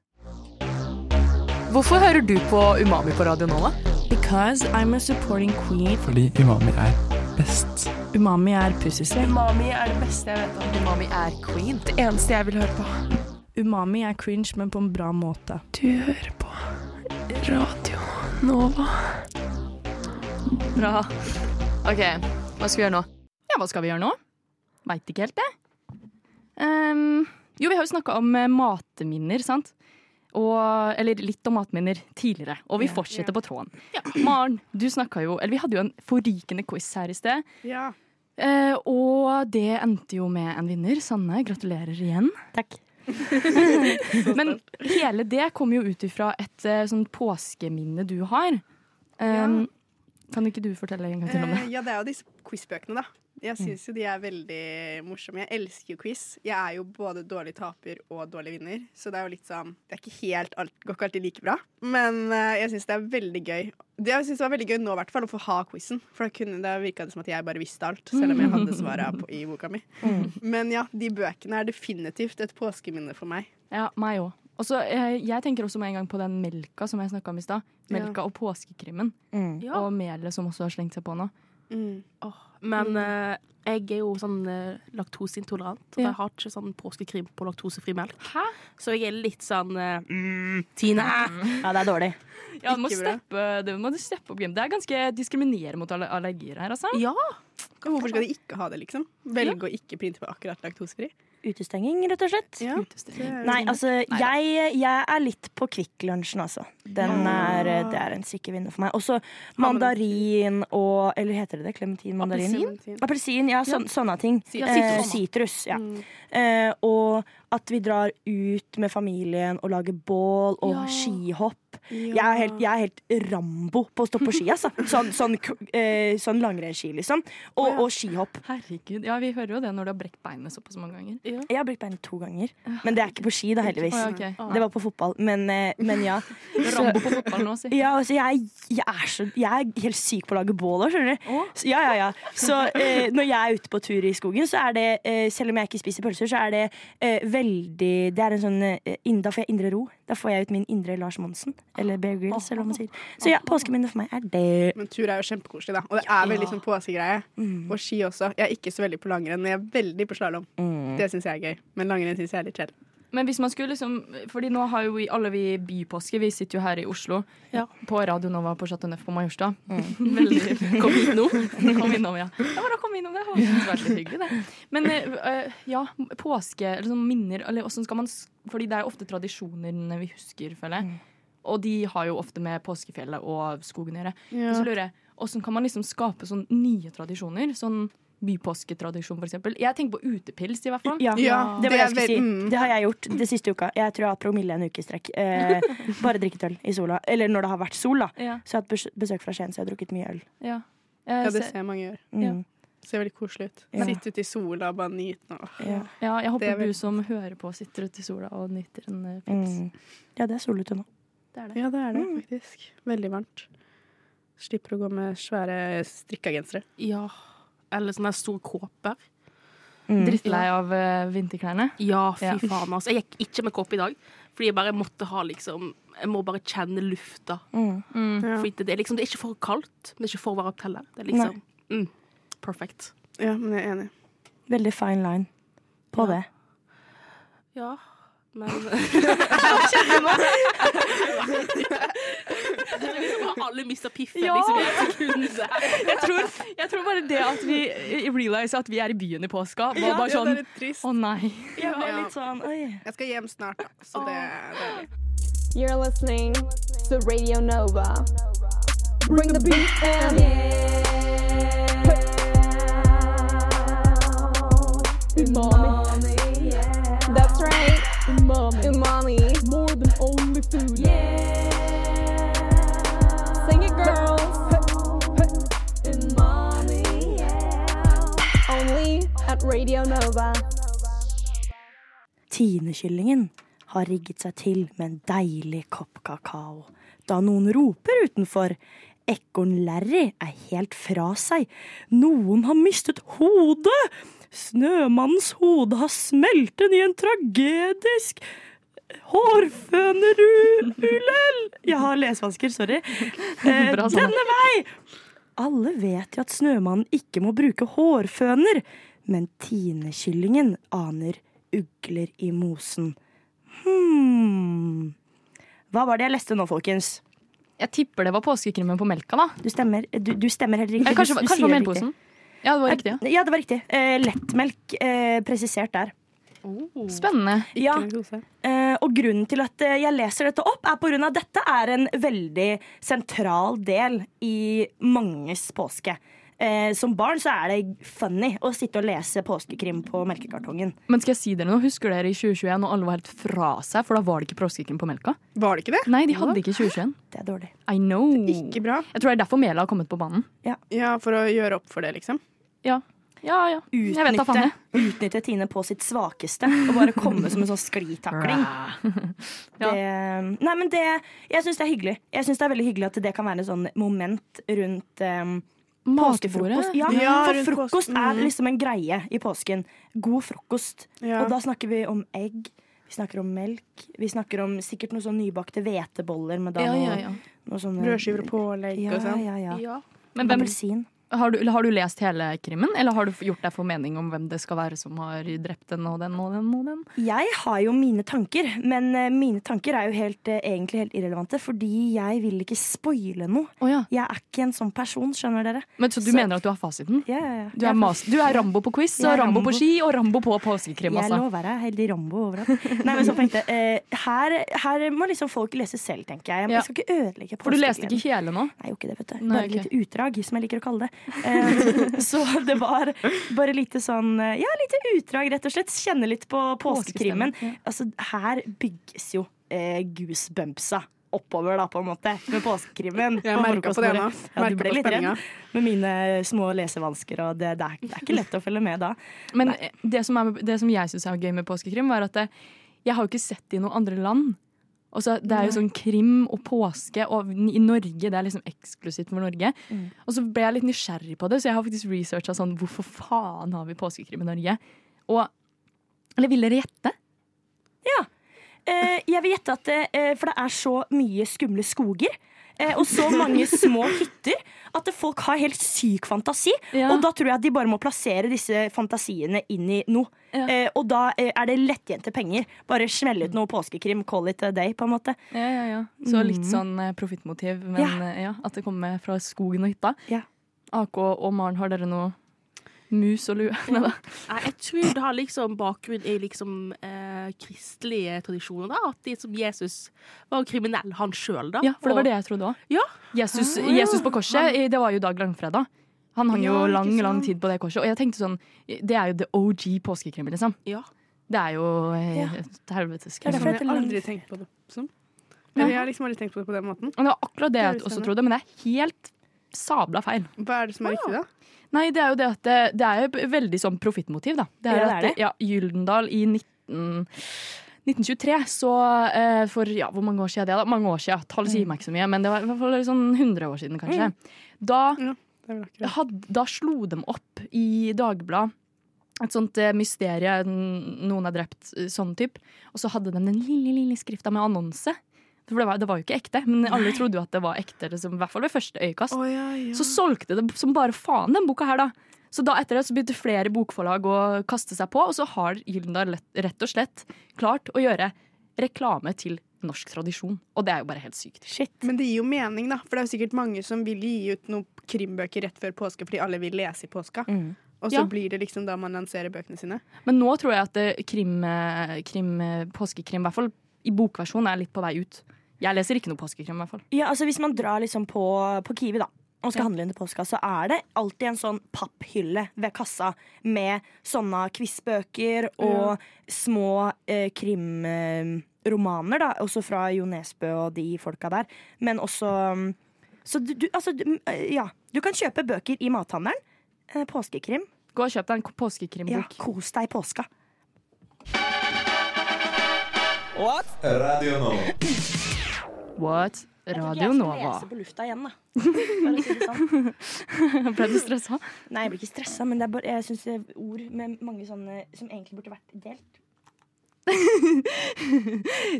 Speaker 2: Hvorfor hører du på Umami på radio nå, da?
Speaker 10: Because I'm a supporting queen.
Speaker 8: Fordi umami er best.
Speaker 10: Umami er pussyslave.
Speaker 2: Umami er det beste jeg vet om. Umami er queen.
Speaker 10: Det eneste jeg vil høre på. Umami er cringe, men på en bra måte.
Speaker 2: Du hører på Radio Nova. Bra. OK, hva skal vi gjøre nå? Ja, hva skal vi gjøre nå? Veit ikke helt, det. Ehm, jo, vi har jo snakka om eh, matminner, sant? Og, eller litt om matminner tidligere, og vi fortsetter på tråden. Maren, du snakka jo Eller vi hadde jo en forrykende quiz her i sted.
Speaker 3: Ja.
Speaker 2: Eh, og det endte jo med en vinner. Sanne, gratulerer igjen.
Speaker 4: Takk.
Speaker 2: Men hele det kommer jo ut ifra et eh, sånn påskeminne du har. Um, Kan ikke du fortelle en gang til om det?
Speaker 3: Eh, ja, det er jo disse quizbøkene, da. Jeg syns jo de er veldig morsomme. Jeg elsker jo quiz. Jeg er jo både dårlig taper og dårlig vinner, så det er jo litt sånn Det er ikke helt alt, går ikke alltid like bra, men eh, jeg syns det er veldig gøy. Det jeg syns var veldig gøy nå, i hvert fall, å få ha quizen, for da kunne det virka det som at jeg bare visste alt, selv om jeg hadde svara i boka mi. Men ja, de bøkene er definitivt et påskeminne for meg.
Speaker 2: Ja, meg òg. Og så, eh, jeg tenker også med en gang på den melka som jeg snakka om i stad. Melka og påskekrimmen.
Speaker 5: Ja.
Speaker 2: Og melet som også har slengt seg på nå.
Speaker 5: Åh, men eh, jeg er jo sånn eh, laktoseintolerant. Og
Speaker 2: Ja.
Speaker 5: jeg har ikke sånn påskekrim på laktosefri melk.
Speaker 2: Hæ?
Speaker 5: Så jeg er litt sånn eh, mm, Tine!
Speaker 4: Ja, det er dårlig.
Speaker 2: Ja, du må
Speaker 3: Ikke bra.
Speaker 2: steppe, det må du steppe opp. Jim. Det er ganske diskriminerende mot alle- allergier her, altså.
Speaker 5: Ja!
Speaker 3: Hvorfor skal de ikke ha det, liksom? Velge å ikke printe på akkurat laktosefri?
Speaker 4: Utestenging, rett og slett.
Speaker 3: Ja.
Speaker 4: Nei, altså, jeg, jeg er litt på Kvikklunsjen, altså. Den er, eh, det er en sikker vinner for meg. Også mandarin og Eller heter det det? Klementin? Mandarin? Appelsin, ja, sån, sånne ting. Eh, Sitrus. ja.
Speaker 2: Mm.
Speaker 4: Eh, og at vi drar ut med familien og lager bål og skihopp. Jeg, er helt, jeg er helt Rambo på å stå på ski,
Speaker 2: <laughs>
Speaker 4: altså. Sånn, sånn, k- eh, sånn langrennsski, liksom. Og, og skihopp.
Speaker 2: Herregud. Ja, vi hører jo det når du har brekt beinet såpass mange ganger.
Speaker 4: Jeg har brukt beinet to ganger, men det er ikke på ski, da, heldigvis.
Speaker 2: Å, ja, ok.
Speaker 4: Det var på fotball, men, eh, men <laughs> ja.
Speaker 2: Rambo på fotball nå, si.
Speaker 4: Ja, altså jeg, jeg, er så, jeg er helt syk på å lage bål òg, skjønner du. Så, ja, ja, ja. så eh, når jeg er ute på tur i skogen, så er det, eh, selv om jeg ikke spiser pølser, så er det eh, veldig Det er en sånn eh, inn- Da får jeg indre ro. Da får jeg ut min indre Lars Monsen. Eller Bear Grylls, eller hva man sier. Så ja, påskeminnet for meg er det.
Speaker 3: Men tur er jo kjempekoselig, da. Og det er veldig sånn påskegreie.
Speaker 2: Mm.
Speaker 3: Og ski også. Jeg er ikke så veldig på langrenn, men jeg er veldig på slalåm.
Speaker 2: Mm.
Speaker 3: Det syns jeg er gøy. Men langrenn syns jeg er litt kjedelig.
Speaker 2: Men hvis man skulle liksom Fordi nå har jo vi, alle vi bypåske. Vi sitter jo her i Oslo. På Radio Nova på Chateau Neuf på Majorstua. <laughs> Veldig Kom hit nå. Kom innom, <laughs> ja. ja bare kom innom det. Det har vært litt hyggelig, det. Men eh, eh, ja, påske eller sånn minner eller hvordan skal man s- Fordi det er jo ofte tradisjonene vi husker, føler jeg. Og de har jo ofte med påskefjellet og skogen å gjøre. Og Så lurer jeg, Åssen kan man liksom skape sånn nye tradisjoner? Sånn bypåsketradisjon, for eksempel. Jeg tenker på utepils, i hvert fall.
Speaker 4: Ja,
Speaker 3: Ja,
Speaker 4: det var
Speaker 3: det
Speaker 4: det
Speaker 3: er
Speaker 4: jeg skulle si.
Speaker 3: vel- mm.
Speaker 4: Det har jeg gjort det siste uka. Jeg tror jeg har hatt promille en uke i strekk. Eh, bare drikket øl i sola. Eller når det har vært sol, da.
Speaker 2: Ja, Eh,
Speaker 4: Så jeg har hatt bes- besøk fra Skien, så jeg har drukket mye øl.
Speaker 2: ja.
Speaker 3: Ja,
Speaker 2: Jeg
Speaker 3: det
Speaker 2: ser-
Speaker 3: ser mange gjør.
Speaker 4: Mm.
Speaker 3: Ser veldig koselig ut.
Speaker 4: Ja.
Speaker 3: Sitte ute i sola og bare nyte nå. Åh.
Speaker 4: Ja.
Speaker 2: Ja, jeg
Speaker 3: Det er
Speaker 2: håper du
Speaker 3: veldig
Speaker 2: som hører på, sitter ute i sola og nyter en eh, pils.
Speaker 4: Mm. ja, det er sol ute nå.
Speaker 3: Ja, det er det
Speaker 2: Mm.
Speaker 3: faktisk. Veldig varmt. Slipper å gå med svære strikka gensere.
Speaker 5: Ja. Eller sånne her store kåper.
Speaker 2: Drittlei av eh, vinterklærne.
Speaker 5: Ja, fy
Speaker 2: Ja.
Speaker 5: faen, altså. Jeg gikk ikke med kåpe i dag, fordi jeg bare måtte ha liksom Jeg må bare kjenne lufta.
Speaker 2: Mm.
Speaker 5: Fordi det, det, er liksom, det er ikke for kaldt, men det er ikke for varmt heller. Det er liksom mm, perfect.
Speaker 3: Ja, men jeg er enig.
Speaker 4: Veldig fine line på det.
Speaker 5: Ja,
Speaker 2: <laughs>
Speaker 5: men Liksom har alle mista piffen,
Speaker 2: Ja.
Speaker 5: liksom. i et sekund.
Speaker 2: Jeg tror, jeg tror bare det at vi eh, realize at vi er i byen i påska, var bare
Speaker 3: Ja,
Speaker 2: sånn Å
Speaker 3: det er litt trist.
Speaker 2: nei.
Speaker 4: Jeg
Speaker 3: ble litt
Speaker 4: sånn oi.
Speaker 3: Jeg skal hjem snart, da. Så det, det er det.
Speaker 11: You're listening to Radio Nova. Bring the beat and umami. That's right, umami. Umami, more than only food. Yeah, sing it, girls. Umami, yeah. Only at Radio Nova.
Speaker 4: Tinekyllingen har rigget seg til med en deilig kopp kakao. Da noen roper utenfor. Ekorn-Larry er helt fra seg. Noen har mistet hodet! Snømannens hode har smeltet i en tragedisk hårfønerulel! Jeg har lesevansker, <laughs> sorry. Eh,
Speaker 2: Bra, Sanne.
Speaker 4: denne vei! Alle vet jo at snømannen ikke må bruke hårføner, men tinekyllingen aner ugler i mosen. Hmm. Hva var det jeg leste nå, folkens?
Speaker 2: Jeg tipper det var påskekrimmen på melka, da.
Speaker 4: Du stemmer, du, du stemmer helt riktig.
Speaker 2: Eller Eh, kanskje,
Speaker 4: Du- du
Speaker 2: kanskje det
Speaker 4: sier
Speaker 2: var
Speaker 4: helt
Speaker 2: melposen?
Speaker 4: riktig.
Speaker 2: Ja, det var riktig. ja.
Speaker 4: Ja, det var riktig. Eh, lettmelk eh, presisert der.
Speaker 2: Spennende.
Speaker 4: Ja,
Speaker 2: Ah.
Speaker 4: eh, og grunnen til at eh, jeg leser dette opp, er på grunn av at dette er en veldig sentral del i manges påske. Eh, som barn så er det funny å sitte og lese påskekrim på melkekartongen.
Speaker 2: Men skal jeg si dere noe? Husker dere i 2021 når alle var helt fra seg, for da var det ikke påskekrim på melka?
Speaker 3: Var det ikke det?
Speaker 2: Nei, de hadde ikke 2021.
Speaker 4: Det er dårlig.
Speaker 2: I know.
Speaker 3: Ikke bra.
Speaker 2: Jeg tror det er derfor Mela har kommet på banen.
Speaker 3: Ja, for å gjøre opp for det, liksom.
Speaker 2: Ja. Ja, ja. Jeg vet da faen
Speaker 4: Utnytte,
Speaker 2: jeg.
Speaker 4: utnytte Tine på sitt svakeste og bare komme som en sånn sklitakling.
Speaker 2: <laughs> Ja.
Speaker 4: Det, nei, men det, jeg syns det er hyggelig. Jeg synes det er veldig hyggelig At det kan være en sånn moment rundt um, påskefrokost. Ja,
Speaker 3: Ja,
Speaker 4: for
Speaker 3: rundt
Speaker 4: frokost
Speaker 3: påsken.
Speaker 4: er
Speaker 3: Mhm.
Speaker 4: liksom en greie i påsken. God frokost.
Speaker 3: Ja.
Speaker 4: Og da snakker vi om egg. Vi snakker om melk. Vi snakker om sikkert noen sånn nybakte hveteboller med da
Speaker 2: Ja, ja, ja.
Speaker 4: noe, noe sånne
Speaker 3: Brødskiver og pålegg
Speaker 4: Ja,
Speaker 3: og sånn.
Speaker 4: ja, ja.
Speaker 5: Ja.
Speaker 2: Men hvem,
Speaker 4: Appelsin.
Speaker 2: har, du, eller har du lest hele krimmen, eller har du gjort deg for mening om hvem det skal være som har drept den og den og den? og den?
Speaker 4: Jeg har jo mine tanker, men eh, mine tanker er jo helt, eh, egentlig helt irrelevante. Fordi jeg vil ikke spoile noe.
Speaker 2: Å ja.
Speaker 4: Jeg er ikke en sånn person, skjønner dere.
Speaker 2: Men, så du
Speaker 4: Så-
Speaker 2: mener at du har fasiten?
Speaker 4: Ja, ja, ja.
Speaker 2: Du er, mas du er Rambo på quiz, og
Speaker 4: Jeg er
Speaker 2: Rambo
Speaker 4: Rambo.
Speaker 2: på ski, og Rambo på påskekrim.
Speaker 4: Jeg
Speaker 2: Altså.
Speaker 4: lover deg. Heldig Rambo overalt. Nei, men så tenkte jeg, eh, her, her må liksom folk lese selv, tenker jeg.
Speaker 2: Ja.
Speaker 4: Jeg skal ikke ødelegge
Speaker 2: For du leste ikke hele nå?
Speaker 4: Nei, jeg gjorde ikke det, vet du.
Speaker 2: Nei,
Speaker 4: Bare
Speaker 2: ok.
Speaker 4: litt utdrag, som jeg liker å kalle det. Eh, så det var bare lite sånn eh, Ja, lite utdrag, rett og slett. Kjenne litt på påskekrimmen.
Speaker 2: Påskestemning,
Speaker 4: Altså, her bygges jo eh, goosebumpsa oppover, da, på en måte, med påskekrimmen.
Speaker 3: Jeg merker på det nå.
Speaker 4: Ja,
Speaker 3: Merker
Speaker 4: du ble
Speaker 3: på
Speaker 4: litt
Speaker 3: spenninga.
Speaker 4: redd med mine små lesevansker, og det, det, er, det er ikke lett å følge med da.
Speaker 2: Men det som, er, det som jeg syns er gøy med påskekrim, var at det, jeg har jo ikke sett det i noen andre land. Og så det er jo sånn krim og påske, og i Norge det er liksom eksklusivt for Norge. Og så ble jeg litt nysgjerrig på det, så jeg har faktisk researcha sånn hvorfor faen har vi påskekrim i Norge? Og Eller vil dere gjette?
Speaker 4: Eh, jeg vil gjette at eh, For det er så mye skumle skoger. eh, Og så mange små hytter at folk har helt syk fantasi.
Speaker 2: Ja.
Speaker 4: Og da tror jeg at de bare må plassere disse fantasiene inn i noe.
Speaker 2: Ja.
Speaker 4: Eh, og da eh, er det lettjente penger. Bare smelle ut noe påskekrim. Call it a day, på en måte.
Speaker 2: Ja, ja, ja. Så litt sånn eh, profittmotiv, men
Speaker 4: Ja.
Speaker 2: eh, ja, at det kommer fra skogen og hytta.
Speaker 4: Ja.
Speaker 2: AK og Maren, har dere noe mus og lue? Nei da.
Speaker 5: Nei, jeg tror det har liksom bakgrunn i liksom, eh, kristelige tradisjoner. da, At de som Jesus var jo kriminell, han sjøl, da.
Speaker 2: Ja, Ah. for det var
Speaker 5: Og-
Speaker 2: det jeg trodde òg.
Speaker 5: Ja.
Speaker 2: Jesus, Jesus på korset, eh, det var jo dag langfredag. Han hang jo
Speaker 3: Ja, ikke
Speaker 2: lang lang
Speaker 3: sant.
Speaker 2: tid på det korset. Og jeg tenkte sånn, det er jo the OG påskekrim, liksom.
Speaker 5: Ja.
Speaker 2: Det er jo eh,
Speaker 4: Ja.
Speaker 2: et helvetes
Speaker 3: Det
Speaker 2: krim.
Speaker 3: har
Speaker 2: Men
Speaker 3: jeg aldri tenkt på det som. Eller jeg har liksom aldri tenkt på det på den måten.
Speaker 2: det var akkurat det jeg
Speaker 3: Det er
Speaker 2: også
Speaker 3: spennende.
Speaker 2: trodde, men det er helt sabla feil.
Speaker 3: Hva er det som er riktig, da?
Speaker 2: Nei, det er jo det at det, det er jo et veldig sånn profittmotiv, da. Det
Speaker 4: Ja,
Speaker 2: er ja,
Speaker 4: det er
Speaker 2: at ja, Gyldendal i 19... 1923, så eh, for ja, hvor mange år siden er det da? Mange år siden, tallet sier meg ikke så mye, men det var i hvert fall sånn 100 år siden kanskje. Da,
Speaker 3: Det er vel akkurat.
Speaker 2: hadde, da slo de opp i Dagbladet et sånt eh, mysterie, n- noen er drept, eh, sånn type. Og så hadde de den lille, lille skrifta med annonse. For det var, det var jo ikke ekte, men alle trodde jo at det var ekte, liksom, i hvert fall ved første øyekast.
Speaker 3: Å, ja, ja.
Speaker 2: Så solgte det som bare faen den boka her, da. Så da etter det så begynte flere bokforlag å kaste seg på, og så har Gyldendal lett- rett og slett klart å gjøre reklame til norsk tradisjon. Og det er jo bare helt sykt.
Speaker 3: Men det gir jo mening, da. For det er jo sikkert mange som vil gi ut noen krimbøker rett før påske fordi alle vil lese i påska. Og så
Speaker 2: Ja.
Speaker 3: blir det liksom da man lanserer bøkene sine.
Speaker 2: Men nå tror jeg at eh, krim, eh, krim, eh, påskekrim, i hvert fall i bokversjon, er litt på vei ut. Jeg leser ikke noe påskekrim, i hvert fall.
Speaker 4: Ja, altså Hvis man drar liksom på, på Kiwi da og skal handle inn til påska, så er det alltid en sånn papphylle ved kassa med sånne quizbøker og små eh, krimromaner, eh, romaner da, også fra Jo Nesbø og de folka der. Men også mm, Så du, du altså du, mm, eh, Ja. Du kan kjøpe bøker i mathandelen. Eh, påskekrim.
Speaker 2: Gå og kjøp deg en k-
Speaker 4: Ja,
Speaker 2: påskekrimbok.
Speaker 4: kos deg i påska.
Speaker 7: Radio Nova.
Speaker 2: What? Radio Nova. <laughs>
Speaker 4: lese på lufta igjen, da. For å si det sånn.
Speaker 2: Ble du stressa?
Speaker 4: Nei, jeg blir ikke stressa, men det er bare, jeg syns ord med mange sånne som egentlig burde vært delt.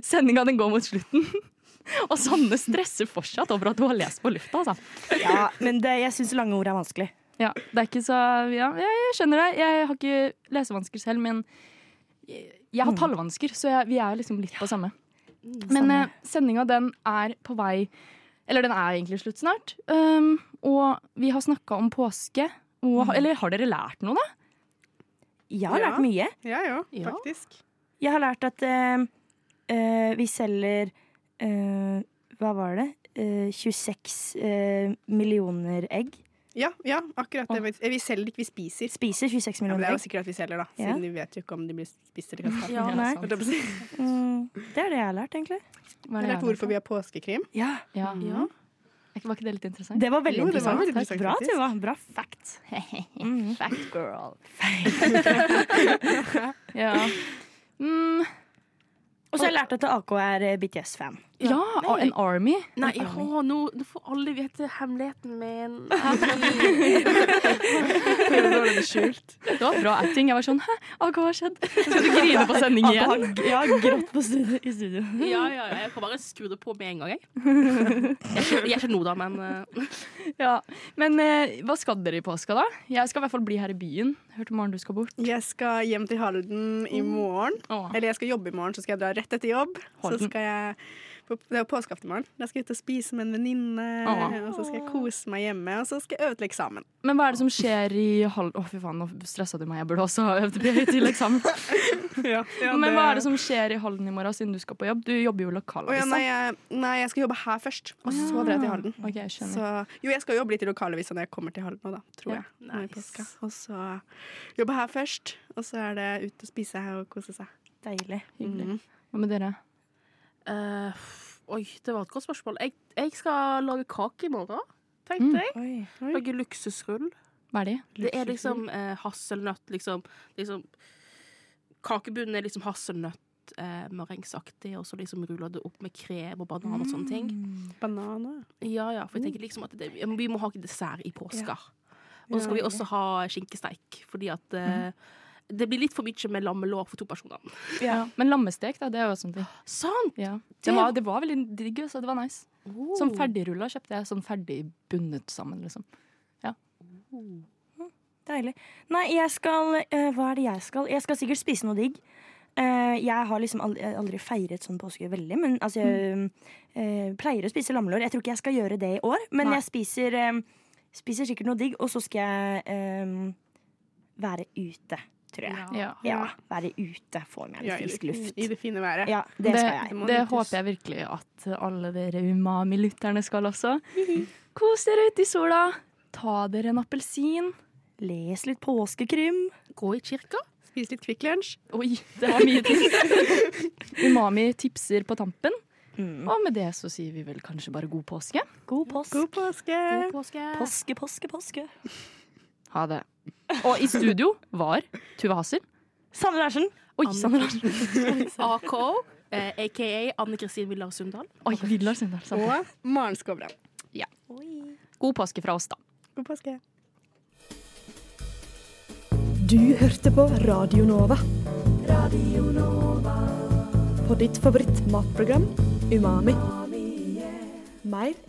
Speaker 2: Sendinga den går mot slutten. <laughs> Og Sanne stresser fortsatt over at du har lest på lufta, altså.
Speaker 4: Ja, men det, jeg syns lange ord er vanskelig.
Speaker 2: Ja, det er ikke så ja, jeg, jeg skjønner det. Jeg har Mm. ikke lesevansker selv, men jeg, jeg har tallvansker, så jeg, vi er liksom litt på samme. Men eh, sendinga den er på vei Eller den er egentlig slutt snart. Um, og vi har snakka om påske. Og, har- Eller har dere lært noe, da?
Speaker 4: Jeg har lært mye.
Speaker 3: Ja, ja,
Speaker 2: Ja.
Speaker 3: faktisk.
Speaker 4: Jeg har lært at eh, eh, vi selger eh, Hva var det? Eh, 26 eh, millioner egg.
Speaker 3: Ja, ja, akkurat det. Vi- Vi selger ikke, vi spiser.
Speaker 4: Spiser 26
Speaker 3: Ja, men
Speaker 4: millioner
Speaker 3: det er jo
Speaker 4: egg.
Speaker 3: sikkert at vi selger, da.
Speaker 4: Ja.
Speaker 3: Siden vi vet jo ikke om de blir spist eller kastet.
Speaker 4: Ja, nei.
Speaker 3: Holdt jeg på å si.
Speaker 4: Mm, det er det jeg har lært, egentlig.
Speaker 3: Jeg har lært hvorfor Mm. vi har påskekrim.
Speaker 4: Ja.
Speaker 2: Ja. Er ikke- Var ikke det litt interessant?
Speaker 4: Det var veldig
Speaker 3: Jo, det var
Speaker 4: interessant.
Speaker 3: veldig interessant,
Speaker 4: Bra,
Speaker 3: faktisk.
Speaker 4: Tuva. Bra Mhm.
Speaker 2: fact. Fact girl. <laughs> ja. Mm,
Speaker 4: Og så har jeg lært at AK er eh, BTS-fan.
Speaker 2: ja, og en army.
Speaker 5: Nei,
Speaker 4: En army.
Speaker 5: å, nå, nå får alle vite hemmeligheten min.
Speaker 2: <laughs> Det var bra acting. Jeg var sånn Hæ, ah, hva har skjedd? Skal du grine på
Speaker 3: <laughs>
Speaker 2: sending
Speaker 4: AK
Speaker 2: igjen?
Speaker 4: har- Jeg har grått på studio, i studio.
Speaker 5: Ja, ja, ja, jeg kan bare skru det på med en gang, jeg. Jeg er ikke- jeg er ikke nå, da, men eh,
Speaker 2: Ja. Men eh, hva skal dere i påska, da? Jeg skal i hvert fall bli her i byen. Hørte Maren du skal bort.
Speaker 3: Jeg skal hjem til Halden i morgen.
Speaker 2: Åh.
Speaker 3: Eller jeg skal jobbe i morgen, så skal jeg dra rett etter jobb. Så skal jeg, på- Det er jo påskeaften i morgen. Da skal jeg ut og spise med en venninne.
Speaker 2: Åh.
Speaker 3: Og så skal jeg kose meg hjemme, og så skal jeg øve til eksamen.
Speaker 2: Men hva er det som skjer i halv... Å, fy faen, nå stressa du meg. Jeg burde også ha øvd på- til eksamen.
Speaker 3: <laughs>
Speaker 2: Men hva er det som skjer i Halden i morgen, siden du skal på jobb? Du jobber jo liksom.
Speaker 3: Å ja,
Speaker 2: lokalavisa.
Speaker 3: nei, jeg, nei, jeg skal jobbe her først, og så drar jeg til Halden.
Speaker 2: Ok, jeg skjønner.
Speaker 3: Så, jo, jeg skal jo bli til lokalavisa når jeg kommer til Halden nå, da, tror
Speaker 2: Ja,
Speaker 3: jeg. nå i påska. Og så jobbe her først, og så er det ut og spise her og kose seg. Mhm.
Speaker 4: Deilig.
Speaker 2: Hyggelig. Hva med dere?
Speaker 5: eh, Oi, det var et godt spørsmål. Jeg, jeg skal lage kake i morgen, tenkte jeg.
Speaker 4: Oi.
Speaker 5: Lage luksusrull.
Speaker 2: Hva er de?
Speaker 5: Det er liksom eh, hasselnøtt, liksom, liksom Kakebunnen er liksom hasselnøtt, eh, merengsaktig, og så liksom ruller det opp med krem og banan og sånne ting.
Speaker 3: Banan òg.
Speaker 5: Ja, ja, for jeg tenker liksom at det, vi må ha dessert i påska. Og så skal vi også ha skinkesteik, fordi at eh, det blir litt for mye med lammelår for to personer.
Speaker 2: Ja. Men lammestek, da. Det er jo sånne ting.
Speaker 5: Sant!
Speaker 2: Ja.
Speaker 5: Det
Speaker 2: Det, var, det var veldig digg, så det var nice. Sånn ferdigrulla kjøpte jeg. Sånn ferdig bundet sammen, liksom.
Speaker 4: Deilig. Nei, jeg skal eh, Hva er det jeg skal? Jeg skal sikkert spise noe digg. Eh, jeg har liksom aldri, aldri feiret sånn påske veldig, men altså jeg
Speaker 3: Mm.
Speaker 4: eh, pleier å spise lammelår. Jeg tror ikke jeg skal gjøre det i år, men
Speaker 2: Nei.
Speaker 4: jeg spiser, eh, spiser sikkert noe digg, og så skal jeg eh, være ute, tror jeg.
Speaker 2: Ah. Ja.
Speaker 4: Ja, være ute. Få meg
Speaker 3: Ja,
Speaker 4: litt
Speaker 3: i,
Speaker 4: frisk
Speaker 3: det-
Speaker 4: luft.
Speaker 3: I det fine været.
Speaker 4: Ja, det skal jeg.
Speaker 2: Det, håper jeg virkelig at alle dere umami-lytterne skal også. Kos dere ute i sola. Ta dere en appelsin.
Speaker 4: Les litt påskekrim.
Speaker 5: Gå i kirka.
Speaker 3: Spise litt Kvikk Lunsj.
Speaker 2: Oi, det var mye tips. <laughs> umami tipser på tampen.
Speaker 4: Mm.
Speaker 2: Og med det så sier vi vel kanskje bare god påske.
Speaker 4: God påske.
Speaker 3: God påske!
Speaker 5: God påske.
Speaker 4: Påske, påske, påske.
Speaker 2: Ha det. Og i studio var Tuva Hassel.
Speaker 4: Sanne Larsen.
Speaker 2: Oi, Sandra Larsen.
Speaker 5: AK, eh, aka Anne Kristin Villar Sundal.
Speaker 2: Oi, Vidar Sundal. Sandra.
Speaker 3: Og Maren Skovran.
Speaker 2: God påske fra oss, da.
Speaker 3: God påske.
Speaker 11: Du hørte på Radio Nova. På ditt favorittmatprogram Umami. Mer